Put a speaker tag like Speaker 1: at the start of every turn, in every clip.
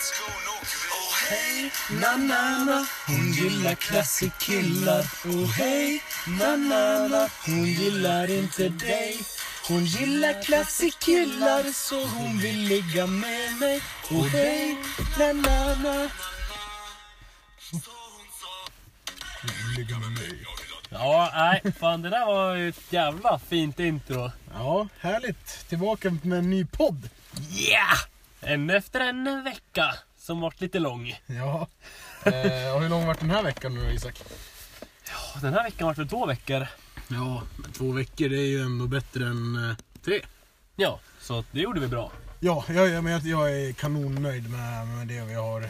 Speaker 1: Oh hej, na-na-na Hon gillar klassig killar Oh hej, na-na-na Hon gillar inte dig Hon gillar klassig killar Så hon vill ligga med mig Oh hej, na-na-na
Speaker 2: Ligga med mig.
Speaker 3: Ja, nej, fan det där var ju ett jävla fint intro.
Speaker 1: Ja, härligt. Tillbaka med en ny podd.
Speaker 3: Yeah! En efter en vecka som varit lite lång.
Speaker 1: Ja. Eh, och hur lång vart den här veckan nu då, Isak?
Speaker 3: Och Den här veckan vart det två veckor.
Speaker 1: Ja, men två veckor det är ju ändå bättre än eh, tre.
Speaker 3: Ja, så det gjorde vi bra.
Speaker 1: Ja, jag, jag, men jag, jag är kanonnöjd med, med det vi har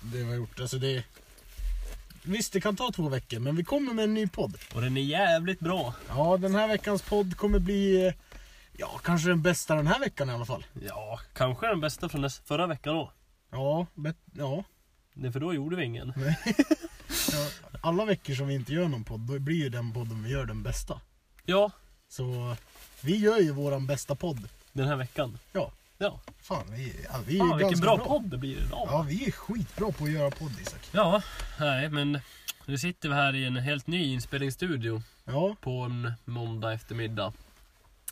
Speaker 1: det vi har gjort. Alltså det, visst, det kan ta två veckor, men vi kommer med en ny podd.
Speaker 3: Och den är jävligt bra.
Speaker 1: Ja, den här veckans podd kommer bli eh, ja, kanske den bästa den här veckan i alla fall.
Speaker 3: Ja, kanske den bästa från näst, förra veckan då.
Speaker 1: Ja, bet, ja.
Speaker 3: Nej, för då gjorde vi ingen.
Speaker 1: ja. Alla veckor som vi inte gör någon podd, då blir ju den podden vi gör den bästa.
Speaker 3: Ja,
Speaker 1: Så vi gör ju våran bästa podd.
Speaker 3: den här veckan.
Speaker 1: Ja,
Speaker 3: Ja,
Speaker 1: fan vi, ja, vi är
Speaker 3: fan vilken
Speaker 1: ganska
Speaker 3: bra, podd det blir idag.
Speaker 1: Ja, vi är skitbra på att göra podd Isak.
Speaker 3: Ja, nej men nu sitter vi här i en helt ny inspelningsstudio
Speaker 1: Ja,
Speaker 3: på en måndag eftermiddag.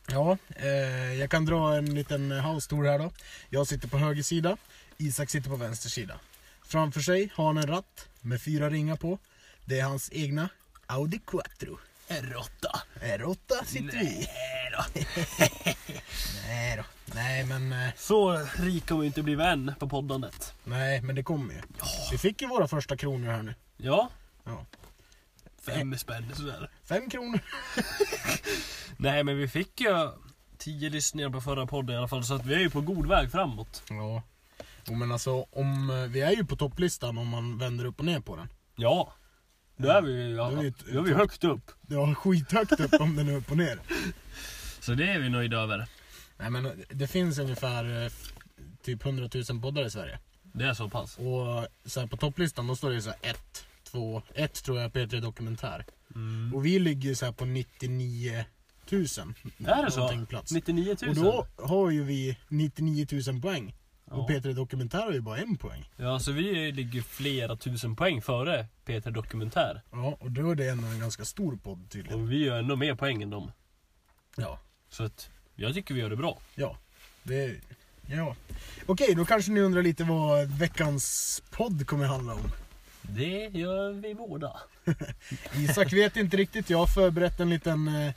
Speaker 1: ja. Eh, jag kan dra en liten house-tour här då. Jag sitter på höger sida, Isak sitter på vänster sida. Framför sig har han en ratt med fyra ringar på. Det är hans egna Audi Quattro.
Speaker 3: Råtta!
Speaker 1: R8 sitter vi i.
Speaker 3: Nej då.
Speaker 1: Nej då. Nej men, eh,
Speaker 3: Så rik kommer vi inte bli vän på poddandet.
Speaker 1: nej, men det kommer ju. Vi fick ju våra första kronor här nu.
Speaker 3: Ja,
Speaker 1: Ja.
Speaker 3: fem spänn sådär.
Speaker 1: Fem kronor.
Speaker 3: Nej men vi fick ju tio lyssningar på förra podden i alla fall så att vi är ju på god väg framåt.
Speaker 1: Ja. Jo, men alltså, om, eh, vi är ju på topplistan om man vänder upp och ner på den.
Speaker 3: Ja, då är vi ju ja,
Speaker 1: Då är vi ett-
Speaker 3: då är vi högt upp.
Speaker 1: Ja, skithögt upp om den är upp och ner.
Speaker 3: Så det är vi nöjda över.
Speaker 1: Nej men det finns ungefär eh, typ 100 000 poddar i Sverige.
Speaker 3: Det är så pass.
Speaker 1: Och så här, på topplistan då står det ju så här 1, 2, 1 tror jag P3 Dokumentär.
Speaker 3: Mm.
Speaker 1: Och vi ligger ju så här på 99 000.
Speaker 3: Är det så?
Speaker 1: någonting Plats.
Speaker 3: 99 000?
Speaker 1: Och då har ju vi 99 000 poäng.
Speaker 3: Ja.
Speaker 1: Och P3 Dokumentär har ju bara en poäng.
Speaker 3: Ja, så vi ligger flera tusen poäng före Peter Dokumentär.
Speaker 1: Ja, och då är det ändå en ganska stor podd tydligen.
Speaker 3: Och vi gör ändå mer poäng än dem.
Speaker 1: Ja.
Speaker 3: Så att jag tycker vi gör det bra.
Speaker 1: Ja. Det, ja. Okej, då kanske ni undrar lite vad veckans podd kommer handla om.
Speaker 3: Det gör vi båda.
Speaker 1: Isak vet inte riktigt. Jag har förberett en liten eh,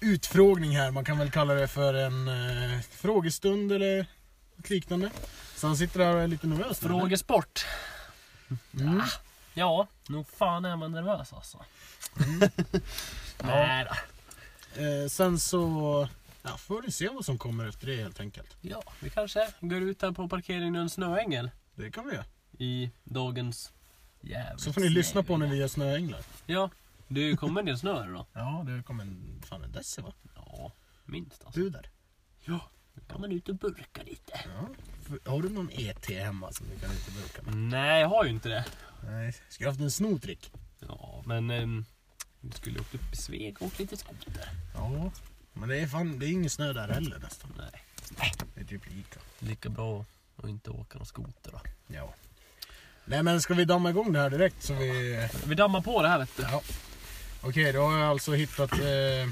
Speaker 1: utfrågning här. Man kan väl kalla det för en eh, frågestund eller något liknande. Så han sitter där och är lite nervös. nu, eller?
Speaker 3: Frågesport.
Speaker 1: Mm.
Speaker 3: Ja, nog fan är man nervös alltså. Nej då.
Speaker 1: Eh, sen så ja, får vi se vad som kommer efter det helt enkelt.
Speaker 3: Ja, vi kanske går ut här på parkeringen i en snöängel
Speaker 1: Det kan vi göra.
Speaker 3: i dagens jävligt
Speaker 1: Så får ni lyssna på när vi gör snöänglar.
Speaker 3: Ja, det kommer en del snö här idag.
Speaker 1: Ja, det kommer en, fan en deci va?
Speaker 3: Ja, minst alltså.
Speaker 1: Du där.
Speaker 3: Ja, nu kan man ut och burka lite.
Speaker 1: Ja. F- Har du någon ET hemma som du kan inte bruka med?
Speaker 3: Nej, jag har ju inte det.
Speaker 1: Nej. Ska jag haft en snotrick?
Speaker 3: Ja, men ehm, vi skulle åkt upp i Sveg och åkt lite skoter.
Speaker 1: Ja. Men det är fan, det är ingen snö där heller nästan.
Speaker 3: Nej,
Speaker 1: Det är typ lika.
Speaker 3: lika bra att inte åka någon skoter då.
Speaker 1: Ja. Nej men ska vi damma igång det här direkt så vi...
Speaker 3: Vi dammar på det här vet du.
Speaker 1: Ja. Okej, då har jag alltså hittat eh,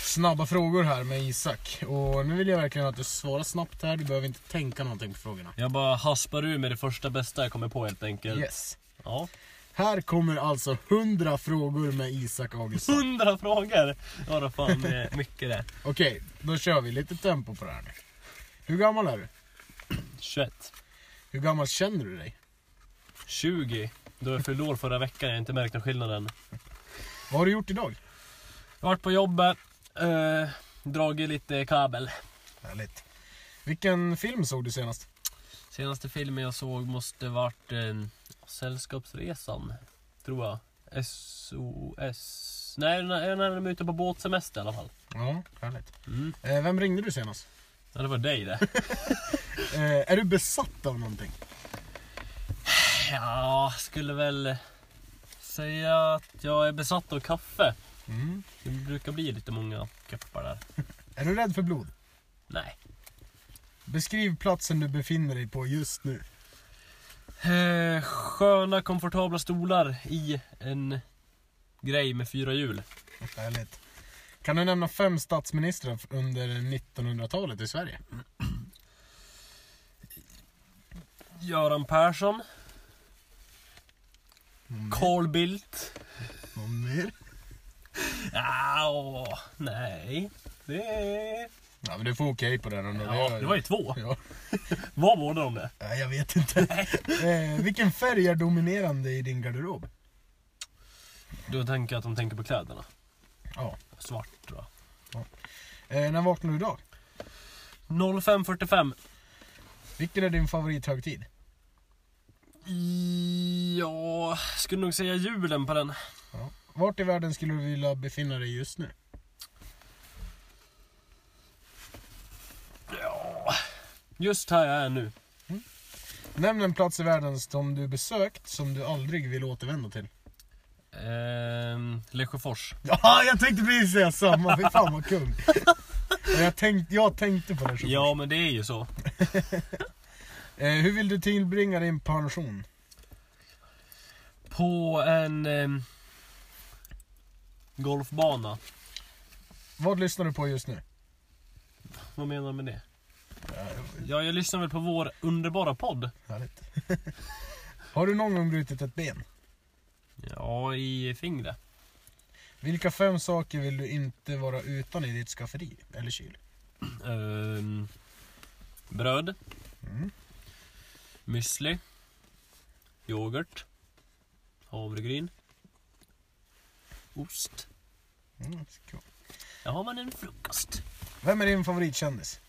Speaker 1: snabba frågor här med Isak. Och nu vill jag verkligen att du svarar snabbt här. Du behöver inte tänka någonting på frågorna.
Speaker 3: Jag bara haspar ur med det första bästa jag kommer på helt enkelt.
Speaker 1: Yes.
Speaker 3: Ja.
Speaker 1: Här kommer alltså 100 frågor med Isak Augustsson.
Speaker 3: Hundra frågor! Ja då fan, det är mycket det.
Speaker 1: Okej, då kör vi lite tempo på det här nu. Hur gammal är du?
Speaker 3: 21.
Speaker 1: Hur gammal känner du dig?
Speaker 3: 20. Då jag fyllde år förra veckan, jag har inte märkt någon skillnad än.
Speaker 1: Vad har du gjort idag?
Speaker 3: Jag har varit på jobbet, eh, dragit lite kabel.
Speaker 1: Härligt. Vilken film såg du senast?
Speaker 3: Senaste filmen jag såg måste varit eh, Sällskapsresan, tror jag. SOS... Nej, när, när de är ute på båtsemester i alla fall.
Speaker 1: Ja, härligt.
Speaker 3: Mm.
Speaker 1: Eh, vem ringde du senast?
Speaker 3: Ja, det var dig det.
Speaker 1: Eh, är du besatt av någonting?
Speaker 3: ja, skulle väl säga att jag är besatt av kaffe.
Speaker 1: Mm.
Speaker 3: Det brukar bli lite många koppar där.
Speaker 1: Är du rädd för blod?
Speaker 3: Nej.
Speaker 1: Beskriv platsen du befinner dig på just nu.
Speaker 3: Eh, sköna, komfortabla stolar i en grej med fyra hjul.
Speaker 1: Härligt. Kan du nämna fem statsministrar under 1900-talet i Sverige?
Speaker 3: Göran Persson.
Speaker 1: Mm.
Speaker 3: Carl Bildt.
Speaker 1: Någon mer?
Speaker 3: Ah, åh, nej. Det...
Speaker 1: Ja, men du får okej på den ändå.
Speaker 3: Ja, det var ju två.
Speaker 1: Ja.
Speaker 3: Var båda de det?
Speaker 1: Nej, jag vet inte.
Speaker 3: Nej.
Speaker 1: eh, vilken färg är dominerande i din garderob?
Speaker 3: Då tänker jag att de tänker på kläderna.
Speaker 1: Ja.
Speaker 3: Svart då.
Speaker 1: Eh, när vaknar du idag?
Speaker 3: 05.45.
Speaker 1: Vilken är din favorithögtid?
Speaker 3: Ja, skulle nog säga julen på den.
Speaker 1: Ja. Vart i världen skulle du vilja befinna dig just nu?
Speaker 3: Ja. Just här jag är nu.
Speaker 1: Nämn en plats i världen som du besökt som du aldrig vill återvända till.
Speaker 3: Ehm, Lesjöfors.
Speaker 1: Ja, jag tänkte precis säga samma. Fy fan vad kung. Och Jag tänkte, jag tänkte på det. så
Speaker 3: Ja, men det är ju så.
Speaker 1: först. Eh, hur vill du tillbringa din pension?
Speaker 3: På en ehm, golfbana.
Speaker 1: Vad lyssnar du på just nu?
Speaker 3: Vad menar du med det? Ja, jag lyssnar väl på vår underbara podd.
Speaker 1: Härligt. Har du någon gång brutit ett ben?
Speaker 3: Ja, i fingret.
Speaker 1: Vilka fem saker vill du inte vara utan i ditt skafferi eller kyl?
Speaker 3: Ehm, bröd.
Speaker 1: Mm.
Speaker 3: Müsli. Yoghurt. Havregryn. Ost.
Speaker 1: Mm, så kul.
Speaker 3: Där har man en frukost.
Speaker 1: Vem är din favoritkändis?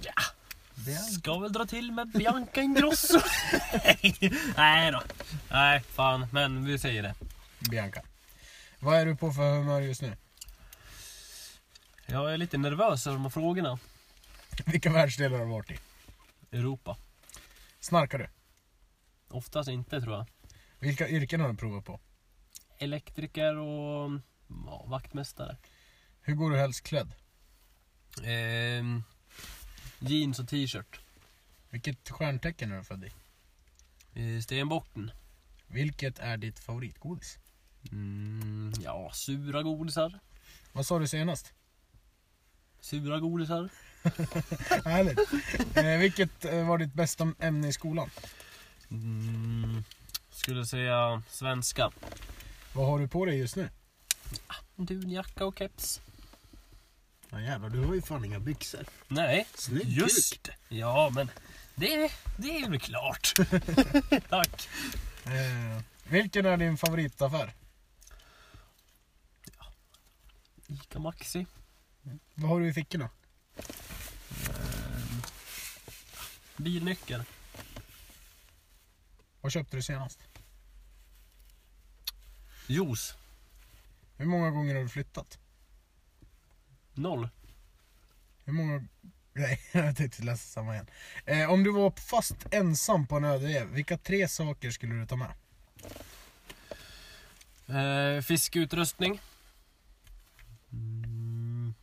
Speaker 3: Ja.
Speaker 1: Bianca.
Speaker 3: Ska väl dra till med Bianca Ingrosso. Nej, Nej då. Nej, fan. Men vi säger det.
Speaker 1: Bianca. Vad är du på för humör just nu?
Speaker 3: Jag är lite nervös över de här frågorna.
Speaker 1: Vilka världsdelar har du varit i?
Speaker 3: Europa.
Speaker 1: Snarkar du?
Speaker 3: Oftast inte tror jag.
Speaker 1: Vilka yrken har du provat på?
Speaker 3: Elektriker och ja, vaktmästare.
Speaker 1: Hur går du helst klädd?
Speaker 3: Ehm, jeans och t-shirt.
Speaker 1: Vilket stjärntecken är du född i?
Speaker 3: Eh, Stenbocken.
Speaker 1: Vilket är ditt favoritgodis?
Speaker 3: Mm, ja, sura godisar.
Speaker 1: Vad sa du senast?
Speaker 3: Sura godisar.
Speaker 1: Härligt. Eh, vilket eh, var ditt bästa ämne i skolan?
Speaker 3: Mm, skulle säga svenska.
Speaker 1: Vad har du på dig just nu?
Speaker 3: Dunjacka och keps.
Speaker 1: Ja, jävlar, du har ju fan inga byxor.
Speaker 3: Nej,
Speaker 1: Snygg
Speaker 3: just det. Ja, men det, det är väl klart. Tack.
Speaker 1: Eh, vilken är din favoritaffär?
Speaker 3: Ica Maxi.
Speaker 1: Vad har du i fickorna?
Speaker 3: Bilnyckel.
Speaker 1: Vad köpte du senast?
Speaker 3: Juice.
Speaker 1: Hur många gånger har du flyttat?
Speaker 3: Noll.
Speaker 1: Hur många... Nej, jag tänkte läsa samma igen. Eh, om du var fast ensam på en öde ö, vilka tre saker skulle du ta med?
Speaker 3: Eh, fiskeutrustning. Mm.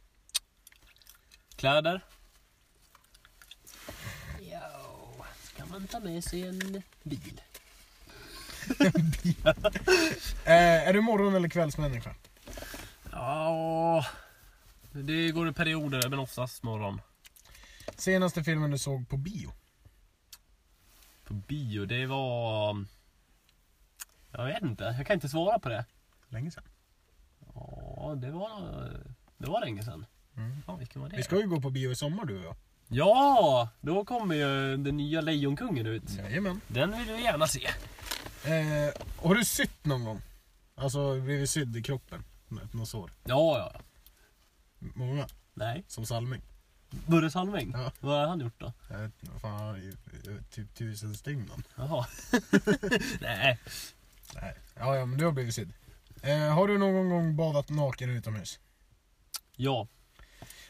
Speaker 3: Kläder. Ja, kan man ta med sig en bil?
Speaker 1: Eh, är du morgon eller kvällsmänniska?
Speaker 3: Ja, det går i perioder, men oftast morgon.
Speaker 1: Senaste filmen du såg på bio?
Speaker 3: På bio, det var... Jag vet inte, jag kan inte svara på det.
Speaker 1: Länge sedan.
Speaker 3: Ja, det var, det var länge sedan. Ja, vilken var det?
Speaker 1: Mm. Vi ska ju gå på bio i sommar du och jag.
Speaker 3: Ja, då kommer ju den nya Lejonkungen ut.
Speaker 1: Jajamän.
Speaker 3: Den vill jag gärna se.
Speaker 1: Eh, har du sytt någon gång? Alltså blivit sydd i kroppen? Med något sår?
Speaker 3: Ja, ja.
Speaker 1: Många?
Speaker 3: Nej.
Speaker 1: Som Salming?
Speaker 3: Burre Salming?
Speaker 1: Ja.
Speaker 3: Vad har han gjort då?
Speaker 1: Jag vet inte, vad fan, han har ju, eh, typ tusen stygn då.
Speaker 3: Jaha. Nej.
Speaker 1: Nej. Ja, ja, men du har blivit sydd. Eh, har du någon gång badat naken utomhus?
Speaker 3: Ja.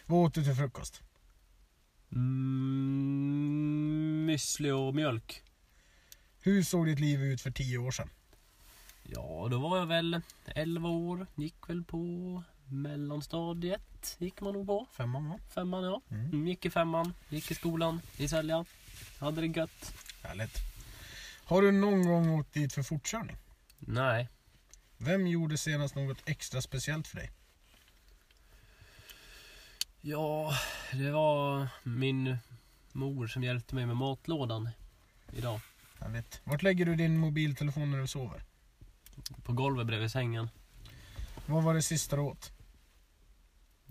Speaker 1: Vad åt du till frukost?
Speaker 3: Mm, müsli och mjölk.
Speaker 1: Hur såg ditt liv ut för tio år sedan?
Speaker 3: Ja, då var jag väl 11 år. Gick väl på mellanstadiet. Gick man nog på.
Speaker 1: Femman va?
Speaker 3: Femman ja.
Speaker 1: Mm.
Speaker 3: Mm. Gick i femman. Gick i skolan. I Sälja. Hade det gött.
Speaker 1: Härligt. Har du någon gång åkt dit för fortkörning?
Speaker 3: Nej.
Speaker 1: Vem gjorde senast något extra speciellt för dig?
Speaker 3: Ja, det var min mor som hjälpte mig med matlådan idag.
Speaker 1: Härligt. Vart lägger du din mobiltelefon när du sover?
Speaker 3: På golvet bredvid sängen.
Speaker 1: Vad var det sista du åt?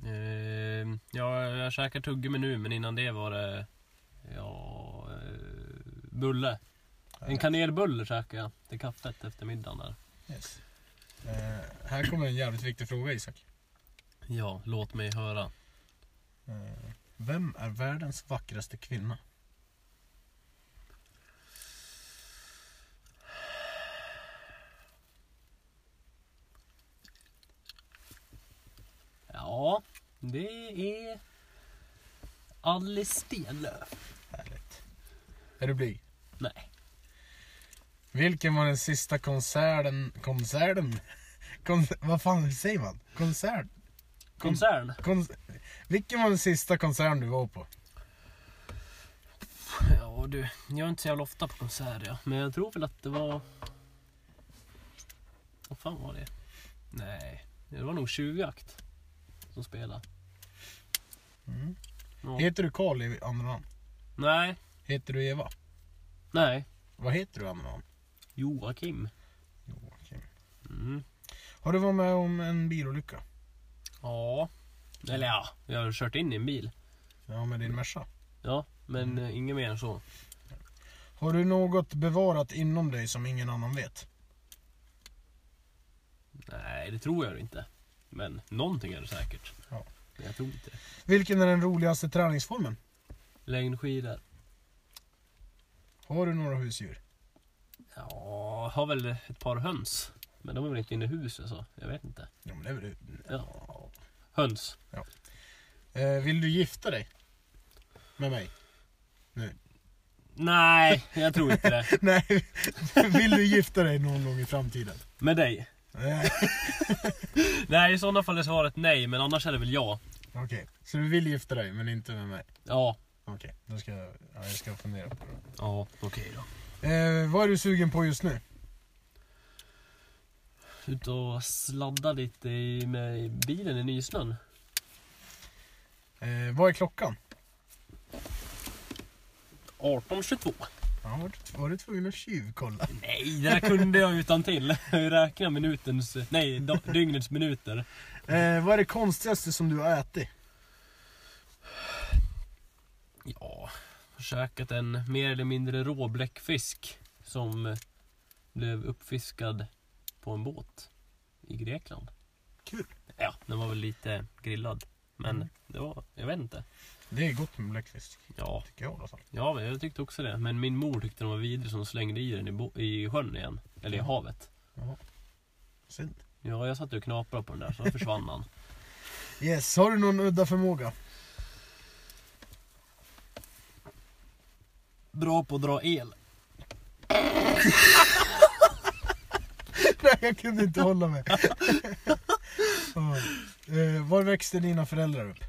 Speaker 3: Eh, ja, jag käkar tuggummi nu, men innan det var det... Ja... Eh, bulle. En kanelbulle käkade jag till kaffet efter middagen där.
Speaker 1: Yes. Eh, här kommer en jävligt viktig fråga Isak.
Speaker 3: Ja, låt mig höra.
Speaker 1: Eh, vem är världens vackraste kvinna?
Speaker 3: Ja, det är... Alice Stenlöf.
Speaker 1: Härligt. Är du blyg?
Speaker 3: Nej.
Speaker 1: Vilken var den sista konserten... Konserten? Kon, vad fan säger man? Konsert?
Speaker 3: Koncern?
Speaker 1: Kon, vilken var den sista konserten du var på?
Speaker 3: Ja du, jag är inte så jävla ofta på konserter ja. Men jag tror väl att det var... Vad fan var det? Nej, det var nog Tjuvjakt som spelade.
Speaker 1: Mm.
Speaker 3: Ja.
Speaker 1: Heter du Karl i andra namn?
Speaker 3: Nej,
Speaker 1: Heter du Eva?
Speaker 3: nej.
Speaker 1: Vad heter du i andra namn?
Speaker 3: Joakim.
Speaker 1: Joakim.
Speaker 3: Mm.
Speaker 1: Har du varit med om en bilolycka?
Speaker 3: Ja. Eller ja, jag har kört in i en bil.
Speaker 1: Ja, med din Merca.
Speaker 3: Ja, men
Speaker 1: Mm.
Speaker 3: eh, inget mer än så.
Speaker 1: Har du något bevarat inom dig som ingen annan vet?
Speaker 3: Nej, det tror jag inte. Men någonting är det säkert.
Speaker 1: Ja.
Speaker 3: Men jag tror inte det.
Speaker 1: Vilken är den roligaste träningsformen?
Speaker 3: Längdskidor.
Speaker 1: Har du några husdjur?
Speaker 3: Ja, har väl ett par höns. Men de är väl inte inne i huset så jag vet inte.
Speaker 1: Ja, men det är väl
Speaker 3: Ja. Höns.
Speaker 1: Eh, vill du gifta dig? Med mig?
Speaker 3: Nej, jag tror inte det.
Speaker 1: Nej, vill du gifta dig någon gång i framtiden?
Speaker 3: Med dig?
Speaker 1: Nej.
Speaker 3: Nej, i sådana fall är svaret nej, men annars är det väl ja.
Speaker 1: Okej, så du vill gifta dig men inte med mig?
Speaker 3: Ja.
Speaker 1: Okej, då ska jag, ja, jag ska fundera på det.
Speaker 3: Ja, okej då.
Speaker 1: Eh, vad är du sugen på just nu?
Speaker 3: Ut och sladda lite i, med bilen i nysnön.
Speaker 1: Eh, vad är klockan?
Speaker 3: 18.22.
Speaker 1: Ja, var, du, var du tvungen att tjuvkolla?
Speaker 3: Nej, det där kunde jag utan till. Jag räknar minutens, nej, da- dygnets minuter.
Speaker 1: Eh, vad är det konstigaste som du har ätit?
Speaker 3: Ja, käkat en mer eller mindre rå bläckfisk som blev uppfiskad på en båt i Grekland.
Speaker 1: Kul.
Speaker 3: Ja, den var väl lite grillad. Men det var, jag vet inte.
Speaker 1: Det är gott med bläckfisk,
Speaker 3: Ja,
Speaker 1: tycker jag i alla fall.
Speaker 3: ja, men jag tyckte också det. Men min mor tyckte den var vidrig som slängde i den i, bo- i sjön igen. Eller i havet.
Speaker 1: Synd.
Speaker 3: Ja, jag satt och knaprade på den där så försvann han.
Speaker 1: Yes, har du någon udda förmåga?
Speaker 3: Bra på att dra el.
Speaker 1: Nej, jag kunde inte hålla mig. Ja. eh, var växte dina föräldrar upp?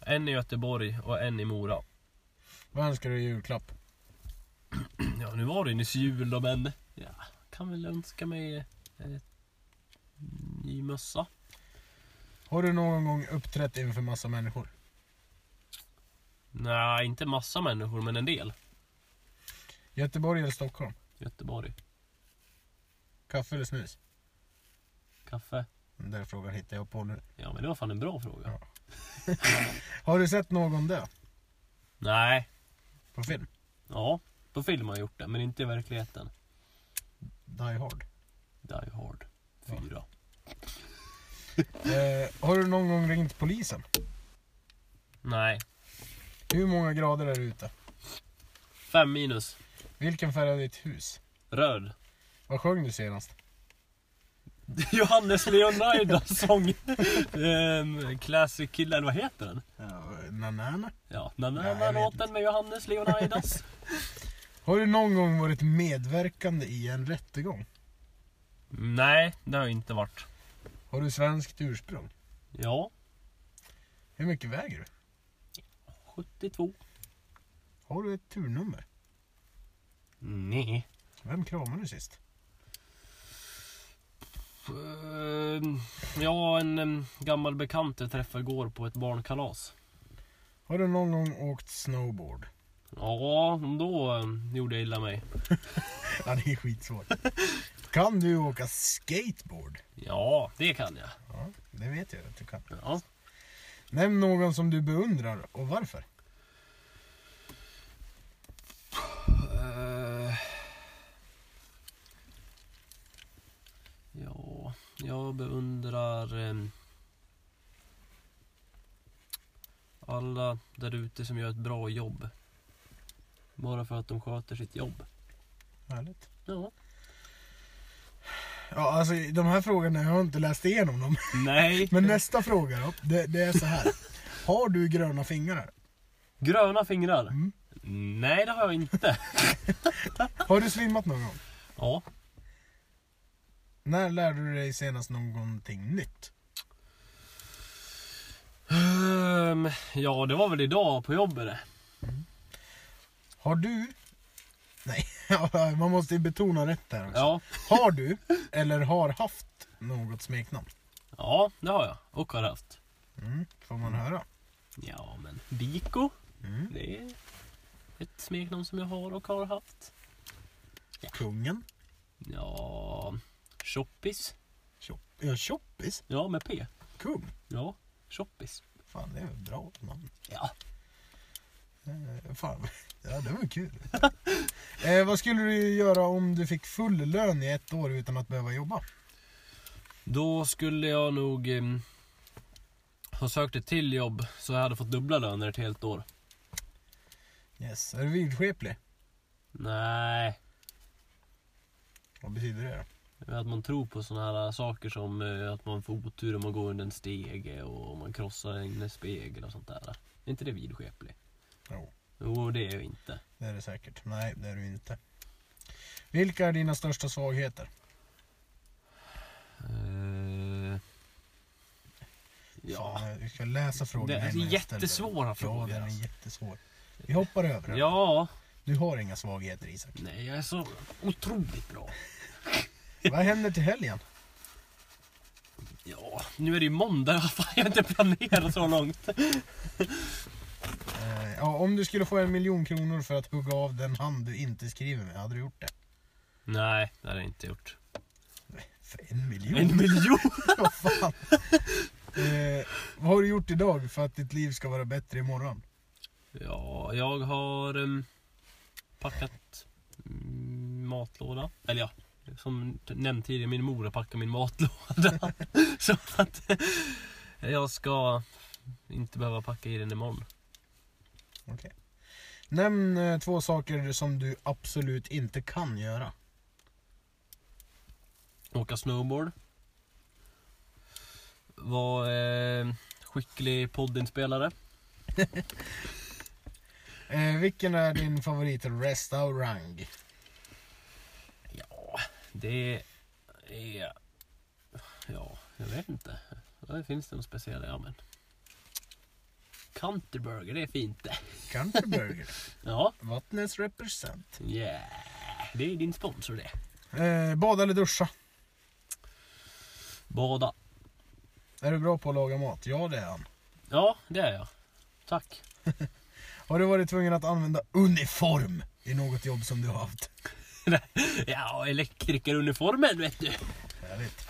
Speaker 3: En i Göteborg och en i Mora.
Speaker 1: Vad önskar du i julklapp?
Speaker 3: Ja, nu var det ju nyss jul då, men ja, kan väl önska mig eh, ny mössa.
Speaker 1: Har du någon gång uppträtt inför massa människor?
Speaker 3: Nej, inte massa människor, men en del.
Speaker 1: Göteborg eller Stockholm?
Speaker 3: Göteborg.
Speaker 1: Kaffe eller snus?
Speaker 3: Kaffe.
Speaker 1: Den där frågan hittar jag på nu.
Speaker 3: Ja, men det var fan en bra fråga.
Speaker 1: Ja. Har du sett någon dö?
Speaker 3: Nej.
Speaker 1: På film?
Speaker 3: Ja, på film har jag gjort det, men inte i verkligheten.
Speaker 1: Die Hard.
Speaker 3: Die Hard 4.
Speaker 1: Eh, har du någon gång ringt polisen?
Speaker 3: Nej.
Speaker 1: Hur många grader är det ute?
Speaker 3: Fem minus.
Speaker 1: Vilken färg är ditt hus?
Speaker 3: Röd.
Speaker 1: Vad sjöng du senast?
Speaker 3: Johannes Leonidas sång. um, classic Killer, eller vad heter den?
Speaker 1: Nanana.
Speaker 3: Ja, den
Speaker 1: Nej, jag
Speaker 3: där
Speaker 1: vet
Speaker 3: låten med Johannes Leonidas.
Speaker 1: Har du någon gång varit medverkande i en rättegång?
Speaker 3: Nej, det har jag inte varit.
Speaker 1: Har du svenskt ursprung?
Speaker 3: Ja,
Speaker 1: Hur mycket väger du?
Speaker 3: 72.
Speaker 1: Har du ett turnummer?
Speaker 3: Nej.
Speaker 1: Vem kramade du sist?
Speaker 3: Ehm, Ja, en em, gammal bekant jag träffade igår på ett barnkalas.
Speaker 1: Har du någon gång åkt snowboard?
Speaker 3: Ja, då em, gjorde jag illa mig.
Speaker 1: Ja, det är skitsvårt. Kan du åka skateboard?
Speaker 3: Ja, det kan jag.
Speaker 1: Ja, det vet jag att du kan.
Speaker 3: Ja.
Speaker 1: Nämn någon som du beundrar och varför.
Speaker 3: Eh, Ja, jag beundrar em, alla där ute som gör ett bra jobb. Bara för att de sköter sitt jobb.
Speaker 1: Härligt.
Speaker 3: Ja.
Speaker 1: Ja, alltså de här frågorna, jag har inte läst igenom dem.
Speaker 3: Nej.
Speaker 1: Men nästa fråga då, det, det är så här. Har du gröna fingrar?
Speaker 3: Gröna fingrar?
Speaker 1: Mm.
Speaker 3: Nej, det har jag inte.
Speaker 1: Har du svimmat någon gång?
Speaker 3: ja,
Speaker 1: När lärde du dig senast någonting nytt?
Speaker 3: Ehm, ja, det var väl idag på jobbet det.
Speaker 1: Har du... Nej, man måste ju betona rätt här också.
Speaker 3: Ja.
Speaker 1: Har du, eller har haft, något smeknamn?
Speaker 3: ja, det har jag. Och har haft.
Speaker 1: Mm, får man höra.
Speaker 3: Ja, men Biko.
Speaker 1: Mm.
Speaker 3: Det är ett smeknamn som jag har och har haft.
Speaker 1: Kungen.
Speaker 3: Ja, Choppis.
Speaker 1: Tjopp. Ja, Tjoppis.
Speaker 3: Ja, med P.
Speaker 1: Kung.
Speaker 3: Ja, Choppis.
Speaker 1: Fan, det är ett bra namn.
Speaker 3: Ja.
Speaker 1: Eh, Fan, ja det var kul. eh, vad skulle du göra om du fick full lön i ett år utan att behöva jobba?
Speaker 3: Då skulle jag nog em, ha sökt ett till jobb så jag hade fått dubbla löner ett helt år.
Speaker 1: Yes. Är du vidskeplig?
Speaker 3: Nej,
Speaker 1: Vad betyder det då?
Speaker 3: Att man tror på sådana här saker som eh, att man får otur om man går under en stege och om man krossar en spegel och sånt där. Är inte det vidskeplig?
Speaker 1: Jo,
Speaker 3: Jo, det är jag inte.
Speaker 1: det är det säkert. Nej, det är du inte. Vilka är dina största svagheter?
Speaker 3: Eh, ja,
Speaker 1: Fan, jag eh, ska läsa frågan
Speaker 3: Det är
Speaker 1: innan jag ställer den.
Speaker 3: jättesvåra frågor,
Speaker 1: Ja, den är
Speaker 3: alltså.
Speaker 1: jättesvår. Vi hoppar över den.
Speaker 3: ja.
Speaker 1: Du har inga svagheter Isak.
Speaker 3: Nej, jag är så otroligt bra.
Speaker 1: Vad händer till helgen?
Speaker 3: Ja, nu är det ju måndag. Fan, jag har inte planerat så långt.
Speaker 1: Eh, ja, om du skulle få en miljon kronor för att hugga av den hand du inte skriver med, hade du gjort det?
Speaker 3: Nej, det har jag inte gjort.
Speaker 1: För en miljon?
Speaker 3: En miljon?
Speaker 1: Vad fan? Eh, vad har du gjort idag för att ditt liv ska vara bättre imorgon?
Speaker 3: Ja, jag har em, packat mm, matlåda. Eller ja, som t- nämnt tidigare, min mor har packat min matlåda. Så att eh, jag ska inte behöva packa i den imorgon.
Speaker 1: Okej. Nämn eh, två saker som du absolut inte kan göra.
Speaker 3: Åka snowboard. Var eh, skicklig poddinspelare.
Speaker 1: Eh, vilken är din favoritrestaurang?
Speaker 3: Ja, det är... Ja, jag vet inte. Det finns det något speciellt? Ja, men... Canterburger, det är fint det.
Speaker 1: Country Burger.
Speaker 3: Ja,
Speaker 1: Vattnets represent.
Speaker 3: yeah. det är din sponsor det.
Speaker 1: Eh, bada eller duscha?
Speaker 3: Bada.
Speaker 1: Är du bra på att laga mat? Ja, det är han.
Speaker 3: Ja, det är jag. Tack.
Speaker 1: Har du varit tvungen att använda uniform i något jobb som du har haft?
Speaker 3: Ja, elektrikeruniformen vet du.
Speaker 1: Härligt.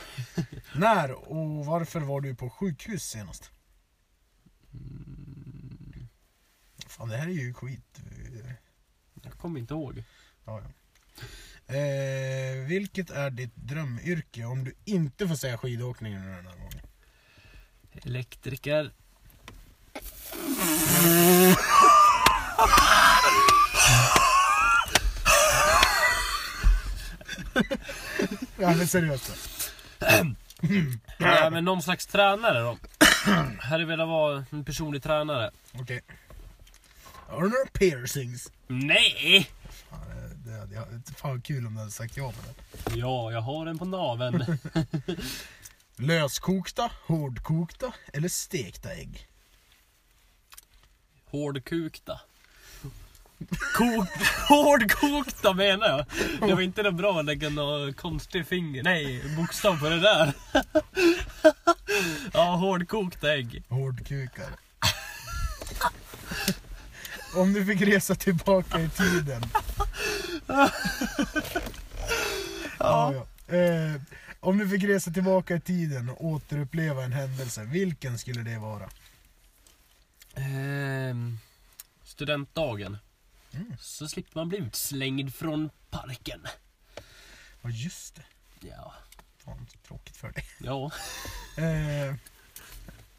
Speaker 1: När och varför var du på sjukhus senast? Fan, det här är ju skit.
Speaker 3: Jag kommer inte ihåg.
Speaker 1: Ja, ja. Eh, vilket är ditt drömyrke om du inte får säga skidåkning nu den här gången?
Speaker 3: Elektriker.
Speaker 1: Ja, men seriöst då.
Speaker 3: Ja, men någon slags tränare då. Jag hade velat vara en personlig tränare.
Speaker 1: Okej. Har du några piercings?
Speaker 3: Nej!
Speaker 1: Ja, det- det hade jag hade jag, fan vad kul om du hade sagt ja på den.
Speaker 3: Ja, jag har en på naveln.
Speaker 1: Löskokta, hårdkokta eller stekta ägg?
Speaker 3: Hårdkukta. Kok, hårdkokta menar jag. Det var inte något bra att lägga någon konstig finger, nej, bokstav på det där. Ja, hårdkokta ägg.
Speaker 1: Hårdkukar. Om du fick resa tillbaka i tiden. ja. ja. Eh, om du fick resa tillbaka i tiden och återuppleva en händelse, vilken skulle det vara?
Speaker 3: Ehm, studentdagen. Så slipper man bli utslängd från parken.
Speaker 1: Ja just det.
Speaker 3: Ja,
Speaker 1: Fan så tråkigt för dig.
Speaker 3: ja.
Speaker 1: Eh,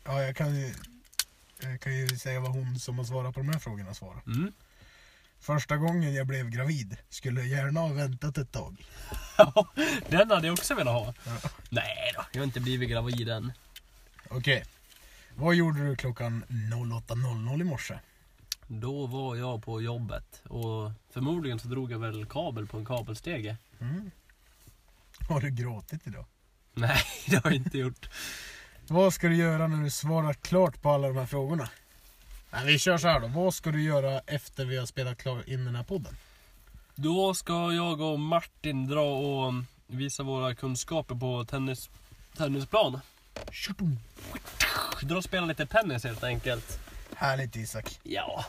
Speaker 1: ja jag kan ju, jag kan ju säga vad hon som har svarat på de här frågorna svarar.
Speaker 3: Mm.
Speaker 1: Första gången jag blev gravid skulle jag gärna ha väntat ett tag.
Speaker 3: Den hade jag också velat ha.
Speaker 1: Ja.
Speaker 3: Nej då, jag har inte blivit gravid än.
Speaker 1: Okej. Vad gjorde du klockan 08.00 i morse?
Speaker 3: Då var jag på jobbet och förmodligen så drog jag väl kabel på en kabelstege.
Speaker 1: Har du gråtit idag?
Speaker 3: Nej, det har jag inte gjort.
Speaker 1: Vad ska du göra när du svarat klart på alla de här frågorna? Nej, vi kör så här då. Vad ska du göra efter vi har spelat klar in den här podden?
Speaker 3: Då ska jag och Martin dra och visa våra kunskaper på tennis, tennisplan.
Speaker 1: Tjotum!
Speaker 3: Dra och spela lite tennis helt enkelt.
Speaker 1: Härligt Isak.
Speaker 3: Ja,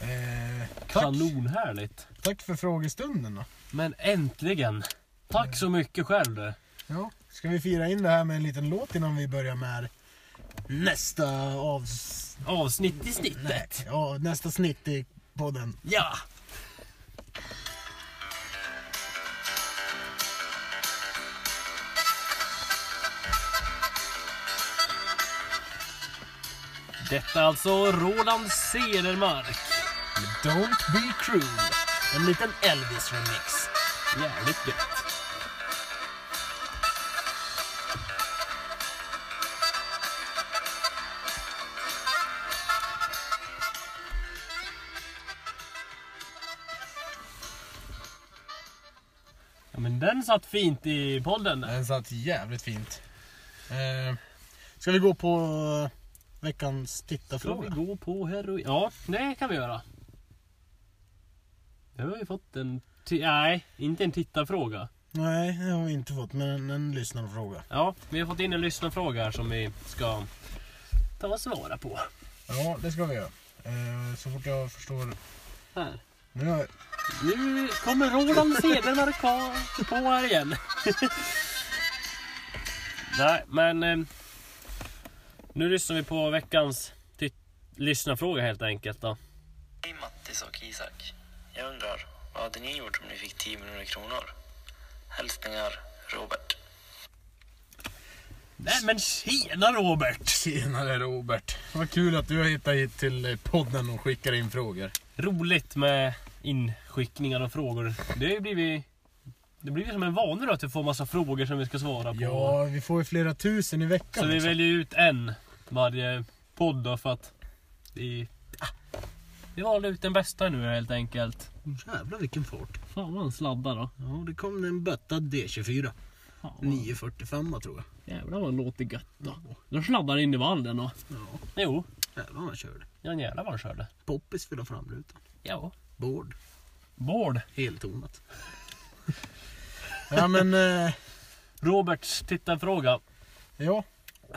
Speaker 1: Eh, tack,
Speaker 3: kanonhärligt.
Speaker 1: tack för frågestunden då.
Speaker 3: Men äntligen! Tack så mycket själv du.
Speaker 1: Ja. Ska vi fira in det här med en liten låt innan vi börjar med nästa avs...
Speaker 3: Avsnitt i snittet.
Speaker 1: Ja, nästa snitt i podden.
Speaker 3: Ja! Detta är alltså Roland Cedermark.
Speaker 1: Don't be cruel. En liten Elvis-remix.
Speaker 3: Jävligt gött. Ja men den satt fint i podden. där.
Speaker 1: Den satt jävligt fint. Eh, ska vi gå på eh, veckans
Speaker 3: Ska vi
Speaker 1: tittarfråga?
Speaker 3: gå på heroin? Ja, det kan vi göra. Nu har vi fått en... Ti- nej, inte en tittarfråga.
Speaker 1: Nej, det har vi inte fått, men en, en lyssnarfråga.
Speaker 3: Ja, vi har fått in en lyssnarfråga här som vi ska ta och svara på.
Speaker 1: Ja, det ska vi göra. Eh, så fort jag förstår...
Speaker 3: Här.
Speaker 1: Nu har jag...
Speaker 3: Nu kommer Roland Cedermark på- på här igen. Nej, men eh, nu lyssnar vi på veckans ty- lyssnarfråga helt enkelt. Då.
Speaker 2: Hej Mattis och Isak. Jag undrar, vad hade ni gjort om ni fick 10 miljoner kronor? Hälsningar Robert.
Speaker 3: Nej men tjena Robert!
Speaker 1: Tjenare Robert! Vad kul att du har hittat hit till eh, podden och skickar in frågor.
Speaker 3: Roligt med inskickningar och frågor. Det har ju blivit... Det blir ju som en vana då att vi får massa frågor som vi ska svara på.
Speaker 1: Ja, vi får ju flera tusen i veckan.
Speaker 3: Så vi
Speaker 1: liksom.
Speaker 3: väljer ut en varje podd då för att vi... Ah, Vi valde ut den bästa nu helt enkelt.
Speaker 1: Jävlar vilken fart.
Speaker 3: Fan vad han sladdar då.
Speaker 1: Ja, det kom en bötta D24.
Speaker 3: Fan, vad-
Speaker 1: 945 tror jag.
Speaker 3: Jävlar vad han låter gött då. Då sladdar han in i vallen då.
Speaker 1: Ja,
Speaker 3: Jo,
Speaker 1: jävlar vad han körde.
Speaker 3: ja jävlar vad han körde.
Speaker 1: Poppis fyllde framrutan.
Speaker 3: Ja.
Speaker 1: Bård.
Speaker 3: Bård.
Speaker 1: Heltonat. ja men, eh,
Speaker 3: Roberts tittarfråga.
Speaker 1: ja.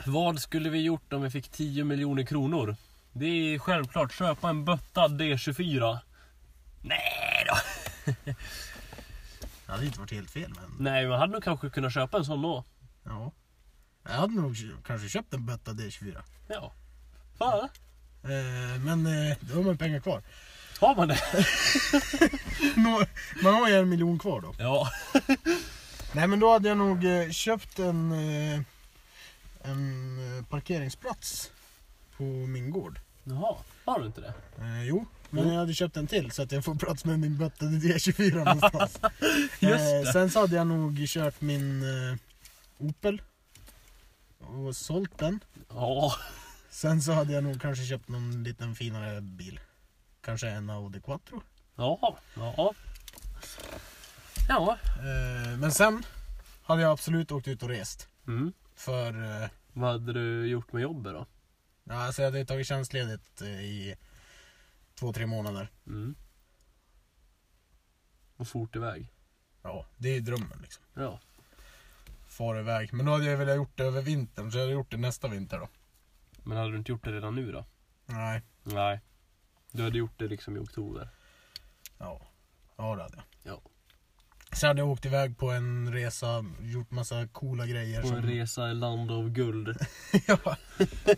Speaker 3: Vad skulle vi gjort om vi fick 10 miljoner kronor? Det är självklart köpa en bötta D24. Nej då.
Speaker 1: Det hade inte varit helt fel men.
Speaker 3: Nej, man hade nog kanske kunnat köpa en sån då.
Speaker 1: Ja. Jag hade nog kö- kanske köpt en bötta D24.
Speaker 3: Ja. Fan.
Speaker 1: Eh, men eh, då har man pengar kvar.
Speaker 3: Har man det?
Speaker 1: Nå- man har ju en miljon kvar då.
Speaker 3: Ja.
Speaker 1: Nej men då hade jag nog eh, köpt en, eh, en eh, parkeringsplats på min gård.
Speaker 3: Jaha, har du inte det?
Speaker 1: Eh, jo, men jag hade köpt en till så att jag får plats med min bötta D24 någonstans.
Speaker 3: Just
Speaker 1: Eh, sen så hade jag nog kört min eh, Opel och sålt den.
Speaker 3: Ja.
Speaker 1: Sen så hade jag nog kanske köpt någon liten finare bil. Kanske en Audi Quattro.
Speaker 3: Ja. ja. Ja.
Speaker 1: Eh, Men sen hade jag absolut åkt ut och rest.
Speaker 3: Mm.
Speaker 1: För, eh,
Speaker 3: Vad hade du gjort med jobbet då?
Speaker 1: ja, alltså jag hade tagit tjänstledigt eh, i två, tre månader.
Speaker 3: Mm. Och fort iväg.
Speaker 1: Ja, det är drömmen liksom.
Speaker 3: Ja.
Speaker 1: Far iväg. Men då hade jag velat gjort det över vintern, så jag hade gjort det nästa vinter då.
Speaker 3: Men hade du inte gjort det redan nu då?
Speaker 1: Nej.
Speaker 3: Nej. Du hade gjort det liksom i oktober.
Speaker 1: Ja, ja det hade jag.
Speaker 3: Ja.
Speaker 1: Sen hade jag åkt iväg på en resa, gjort massa coola grejer.
Speaker 3: På en
Speaker 1: Som,
Speaker 3: resa i land av guld.
Speaker 1: ja,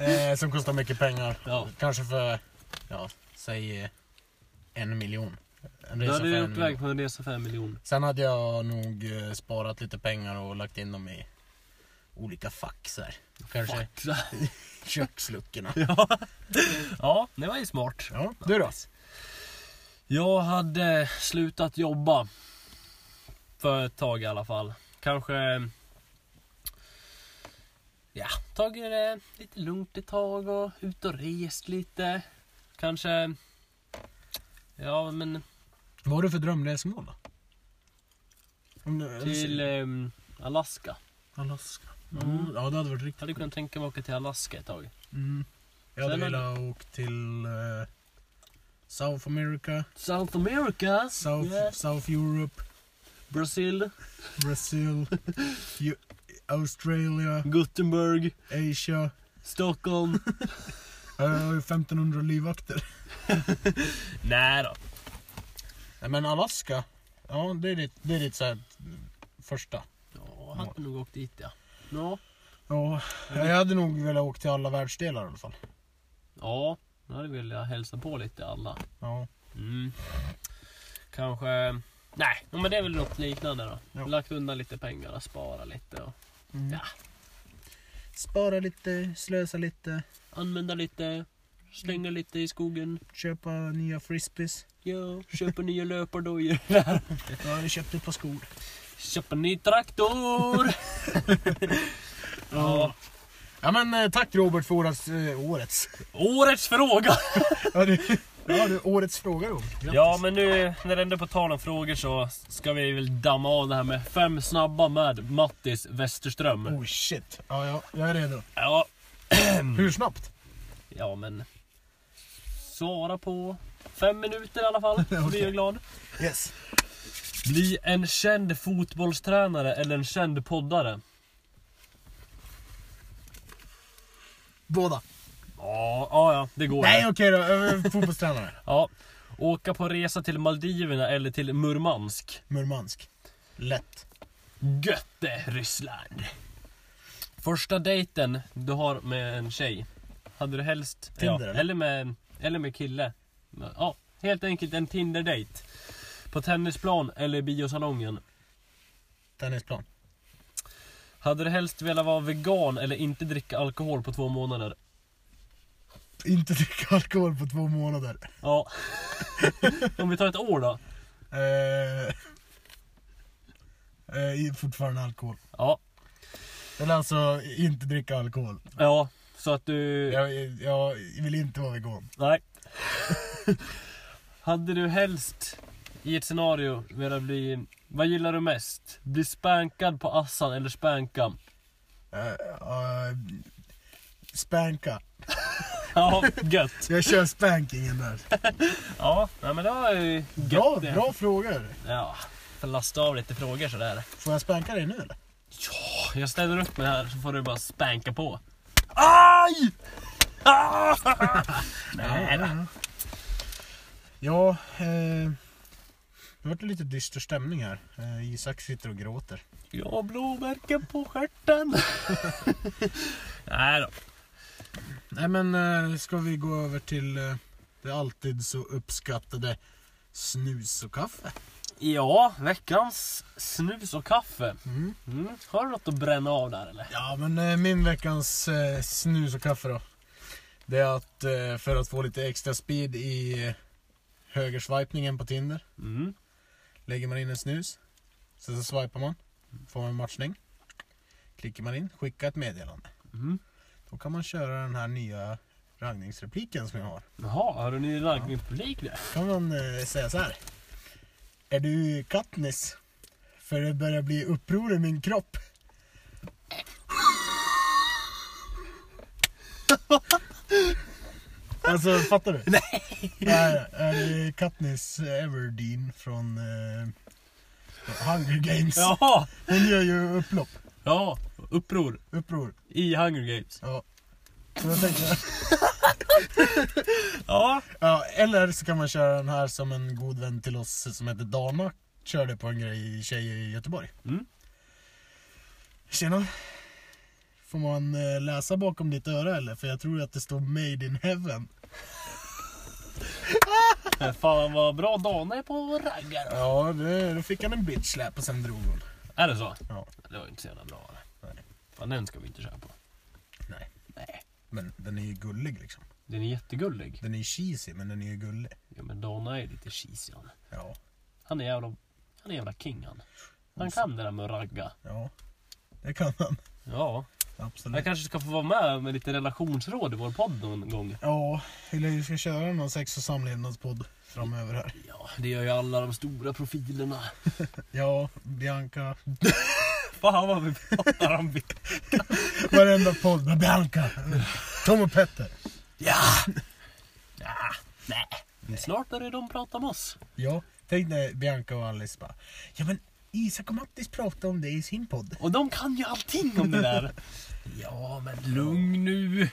Speaker 1: eh, som kostar mycket pengar.
Speaker 3: Ja.
Speaker 1: Kanske för, ja, säg eh, en miljon. En
Speaker 3: Du
Speaker 1: resa för
Speaker 3: hade
Speaker 1: en
Speaker 3: gjort
Speaker 1: miljon.
Speaker 3: väg på en resa för en miljon.
Speaker 1: Sen hade jag nog eh, sparat lite pengar och lagt in dem i olika fack så här. Kanske köksluckorna.
Speaker 3: ja. ja, det var ju smart.
Speaker 1: Ja, du då?
Speaker 3: Jag hade slutat jobba. För ett tag i alla fall. Kanske... Ja, tagit det lite lugnt ett tag och ut och rest lite. Kanske... Ja, men
Speaker 1: Vad har du för drömresmål då? Om du-
Speaker 3: till ehm, Alaska.
Speaker 1: Alaska. Mm. Ja, det hade varit
Speaker 3: Jag
Speaker 1: riktigt.
Speaker 3: hade kunnat tänka mig att åka till Alaska ett tag.
Speaker 1: Mm. Jag hade
Speaker 3: Sen hade-
Speaker 1: velat åka till eh, South America,
Speaker 3: South America,
Speaker 1: South,
Speaker 3: yeah.
Speaker 1: South Europe,
Speaker 3: Brasil,
Speaker 1: Brazil, Ju- Australia,
Speaker 3: Gothenburg,
Speaker 1: Asia.
Speaker 3: Stockholm.
Speaker 1: Jag har ju 1500 livvakter.
Speaker 3: Nej då.
Speaker 1: Nej men Alaska, ja det är ditt, det är ditt så här, mm, första.
Speaker 3: Ja, jag hade nog åkt dit ja. Ja,
Speaker 1: Ja, jag hade nog velat åka till alla världsdelar i alla fall.
Speaker 3: ja då hade jag velat hälsa på lite alla.
Speaker 1: Ja.
Speaker 3: Mm. Kanske... Nej, ja, men det är väl något liknande då.
Speaker 1: Ja.
Speaker 3: Lagt undan lite pengar och spara lite. Och
Speaker 1: Mm.
Speaker 3: Ja.
Speaker 1: Spara lite, slösa lite,
Speaker 3: använda lite, slänga lite i skogen.
Speaker 1: köpa nya frisbees.
Speaker 3: Ja, köpa nya löpardojor. Där.
Speaker 1: Jag hade köpt ett par skor.
Speaker 3: köpa ny traktor! ja.
Speaker 1: Ja men eh, tack Robert för årets... Eh, årets.
Speaker 3: Årets fråga!
Speaker 1: Ja du, ja, du årets fråga Robert. Grattis.
Speaker 3: Ja, men nu när det ändå är på tal om frågor så ska vi väl damma av det här med fem snabba med Mattis Westerström.
Speaker 1: Oh shit. Ja, ja, jag är redo.
Speaker 3: Ja,
Speaker 1: Hur snabbt?
Speaker 3: ja, men... Svara på fem minuter i alla fall, så blir jag glad.
Speaker 1: Yes.
Speaker 3: Bli en känd fotbollstränare eller en känd poddare?
Speaker 1: Båda.
Speaker 3: Ja, ja, ja det går.
Speaker 1: Nej okej då, eh, fotbollstränare.
Speaker 3: Ja. Åka på resa till Maldiverna eller till Murmansk?
Speaker 1: Murmansk. Lätt.
Speaker 3: Götte, Ryssland. Första dejten du har med en tjej. Hade du helst...
Speaker 1: Tinder,
Speaker 3: ja,
Speaker 1: eller?
Speaker 3: eller? Med, eller med kille. Ja, helt enkelt en Tinder-dejt. På tennisplan eller biosalongen.
Speaker 1: Tennisplan.
Speaker 3: Hade du helst velat vara vegan eller inte dricka alkohol på två månader?
Speaker 1: Inte dricka alkohol på två månader.
Speaker 3: Ja. Om vi tar ett år då?
Speaker 1: Eh, eh, i- fortfarande alkohol.
Speaker 3: Ja.
Speaker 1: Eller alltså inte dricka alkohol.
Speaker 3: Ja, så att du...
Speaker 1: Jag, jag vill inte vara vegan.
Speaker 3: Nej. Hade du helst i ett scenario velat bli... Vad gillar du mest? Bli spankad på assan eller spanka?
Speaker 1: Eh, eh, spanka.
Speaker 3: Ja, gött.
Speaker 1: Jag kör spankingen där.
Speaker 3: Ja, nej, men det var ju gött
Speaker 1: Bra,
Speaker 3: det.
Speaker 1: bra frågor.
Speaker 3: Ja, får lasta av lite frågor sådär.
Speaker 1: Får jag spanka dig nu eller?
Speaker 3: Ja, jag ställer upp mig här så får du bara spanka på.
Speaker 1: Aj!
Speaker 3: Nej då.
Speaker 1: Ja, eh, det vart lite dyster stämning här. Eh, Isak sitter och gråter.
Speaker 3: Jag har blåmärken på stjärten. nej då.
Speaker 1: Nej men eh, ska vi gå över till eh, det alltid så uppskattade snus och kaffe?
Speaker 3: Ja, veckans snus och kaffe.
Speaker 1: Mm.
Speaker 3: Mm. Har du något att bränna av där eller?
Speaker 1: Ja men eh, min veckans eh, snus och kaffe då. Det är att eh, för att få lite extra speed i eh, högerswipningen på Tinder.
Speaker 3: Mm.
Speaker 1: Lägger man in en snus. Sen så swipar man. Får man en matchning. Klickar man in, skicka ett meddelande.
Speaker 3: Mm.
Speaker 1: Då kan man köra den här nya raggningsrepliken som jag har.
Speaker 3: Jaha, har du ny raggningspublik där?
Speaker 1: Då kan man eh, säga så här. Är du Katniss? För det börjar bli uppror i min kropp. alltså, fattar du? Nej! Nej, det är Katniss Everdeen från eh, Hunger Games.
Speaker 3: Jaha!
Speaker 1: Hon gör ju upplopp.
Speaker 3: Ja, uppror
Speaker 1: Uppror.
Speaker 3: i Hunger Games.
Speaker 1: Ja. Så jag tänkte,
Speaker 3: Ja,
Speaker 1: ja, eller så kan man köra den här som en god vän till oss som heter Dana körde på en grej i tjejer i Göteborg.
Speaker 3: Mm.
Speaker 1: Tjena. Får man eh, läsa bakom ditt öra eller? För jag tror att det står Made in Heaven.
Speaker 3: men Eh, fan vad bra Dana är på raggar.
Speaker 1: Ja, det, då fick han en bitch slap och sen drog hon.
Speaker 3: Är det så?
Speaker 1: Ja,
Speaker 3: Det var ju inte så jävla bra. eller? Fan den ska vi inte köra på.
Speaker 1: nej.
Speaker 3: Nej.
Speaker 1: Men den är ju gullig liksom.
Speaker 3: Den är jättegullig.
Speaker 1: Den är ju cheesy men den är ju gullig.
Speaker 3: Ja men Dana är lite cheesy han.
Speaker 1: Ja,
Speaker 3: Han är jävla, han är jävla king han. Han kan det där med att ragga.
Speaker 1: ja. Det kan han.
Speaker 3: Ja. Jag
Speaker 1: Absolut.
Speaker 3: kanske ska få vara med med lite relationsråd i vår podd någon gång.
Speaker 1: Ja, eller vi ska köra någon sex och samlevnadspodd framöver här.
Speaker 3: Ja, det gör ju alla de stora profilerna.
Speaker 1: Ja, Bianca.
Speaker 3: Fan vad vi pratar om det.
Speaker 1: Varenda podd med Bianca. Tom och Petter.
Speaker 3: Ja! ja. Nej. Men Snart börjar de prata om oss.
Speaker 1: Ja, tänk när Bianca och Alice bara. Ja men Isak och Mattis pratade om det i sin podd.
Speaker 3: Och de kan ju allting om det där. Ja, men lugn nu.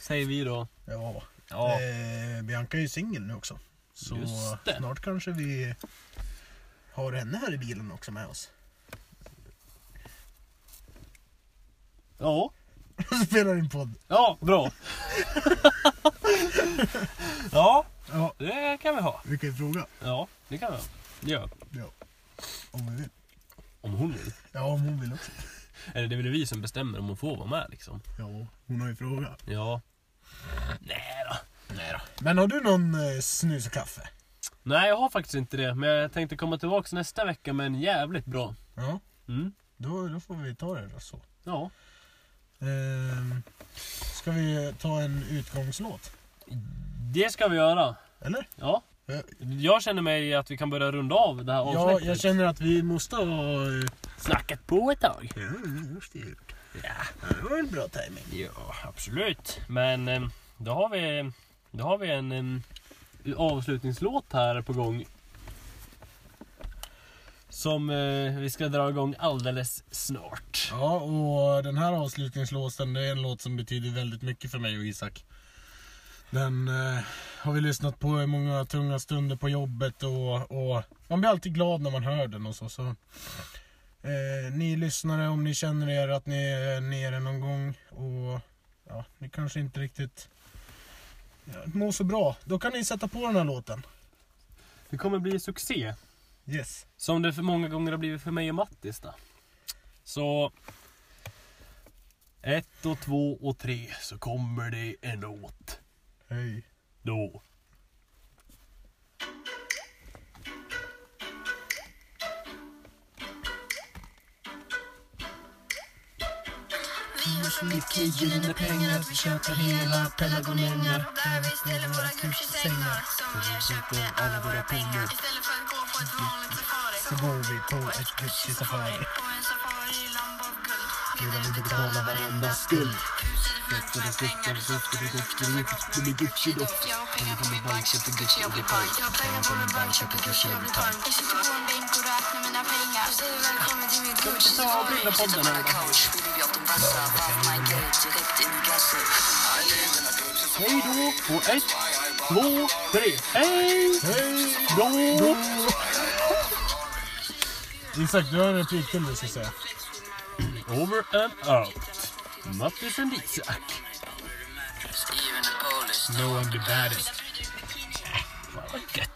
Speaker 3: Säger vi då.
Speaker 1: Ja.
Speaker 3: Ja.
Speaker 1: Eh, Bianca är ju singel nu också. Så
Speaker 3: Just det.
Speaker 1: snart kanske vi har henne här i bilen också med oss.
Speaker 3: Ja.
Speaker 1: Spelar in podd.
Speaker 3: Ja, bra. ja,
Speaker 1: Ja,
Speaker 3: det kan vi ha.
Speaker 1: vi kan ju fråga.
Speaker 3: Ja, det kan vi ha. Det gör vi.
Speaker 1: Ja. Om vi vill.
Speaker 3: Om hon vill.
Speaker 1: Ja, om hon vill också.
Speaker 3: Eller det är väl vi som bestämmer om hon får vara med liksom.
Speaker 1: Ja, hon har ju frågat.
Speaker 3: Ja. Nej då. Nej då.
Speaker 1: Men har du någon eh, snus och kaffe?
Speaker 3: Nej, jag har faktiskt inte det. Men jag tänkte komma tillbaka nästa vecka med en jävligt bra.
Speaker 1: Ja,
Speaker 3: Mm.
Speaker 1: då, då får vi ta det då så.
Speaker 3: Ja.
Speaker 1: Ehm, ska vi ta en utgångslåt?
Speaker 3: Det ska vi göra.
Speaker 1: Eller?
Speaker 3: Ja.
Speaker 1: Eh,
Speaker 3: Jag känner mig att vi kan börja runda av det här
Speaker 1: Ja,
Speaker 3: avsnittet.
Speaker 1: jag känner att vi måste ha... eh,
Speaker 3: Snackat på ett tag.
Speaker 1: Ja, just det. Ja, det var en bra timing.
Speaker 3: Ja, absolut. Men eh, då har vi, då har vi en, en eh, avslutningslåt här på gång. Som eh, vi ska dra igång alldeles snart.
Speaker 1: Ja, och den här avslutningslåten det är en låt som betyder väldigt mycket för mig och Isak. Den eh, har vi lyssnat på i många tunga stunder på jobbet och, och man blir alltid glad när man hör den och så. så. Eh, ni lyssnare, om ni känner er att ni är nere någon gång och ja, ni kanske inte riktigt ja, mår så bra, då kan ni sätta på den här låten.
Speaker 3: Det kommer bli succé.
Speaker 1: Yes.
Speaker 3: Som det för många gånger har blivit för mig och Mattis då. Så... Ett och två och tre så kommer det en låt.
Speaker 1: Hej.
Speaker 3: Då.
Speaker 4: Vi har så mycket gyllene pengar Vi köper hela pelargonerna Och där vi ställer våra Gucci-sängar Som vi har köpt med alla våra pengar Istället för att gå på ett vanligt safari
Speaker 1: Så går vi på ett Gucci-safari.
Speaker 4: På en safari i land av guld
Speaker 1: Medan vi betalar varenda skuld.
Speaker 4: Huset är fullt med pengar Du söker dig upp till mig Det blir Gucci-doft Jag har pengar på min bank Köper Gucci, jag blir pang Jag har pengar på min bank Köper Gucci, jag blir pang Jag sitter på en bänk och räknar mina pengar Du säger välkommen till mitt Gucci-safari
Speaker 3: Brillapodden här idag. Hej då på ett, två, tre. Hej
Speaker 1: Hej!
Speaker 3: då!
Speaker 1: Isak, du har en replik till du ska säga.
Speaker 3: Over and out. Mattis and Isak.
Speaker 2: Even the police
Speaker 3: No I'm the baddest. Fan vad gött.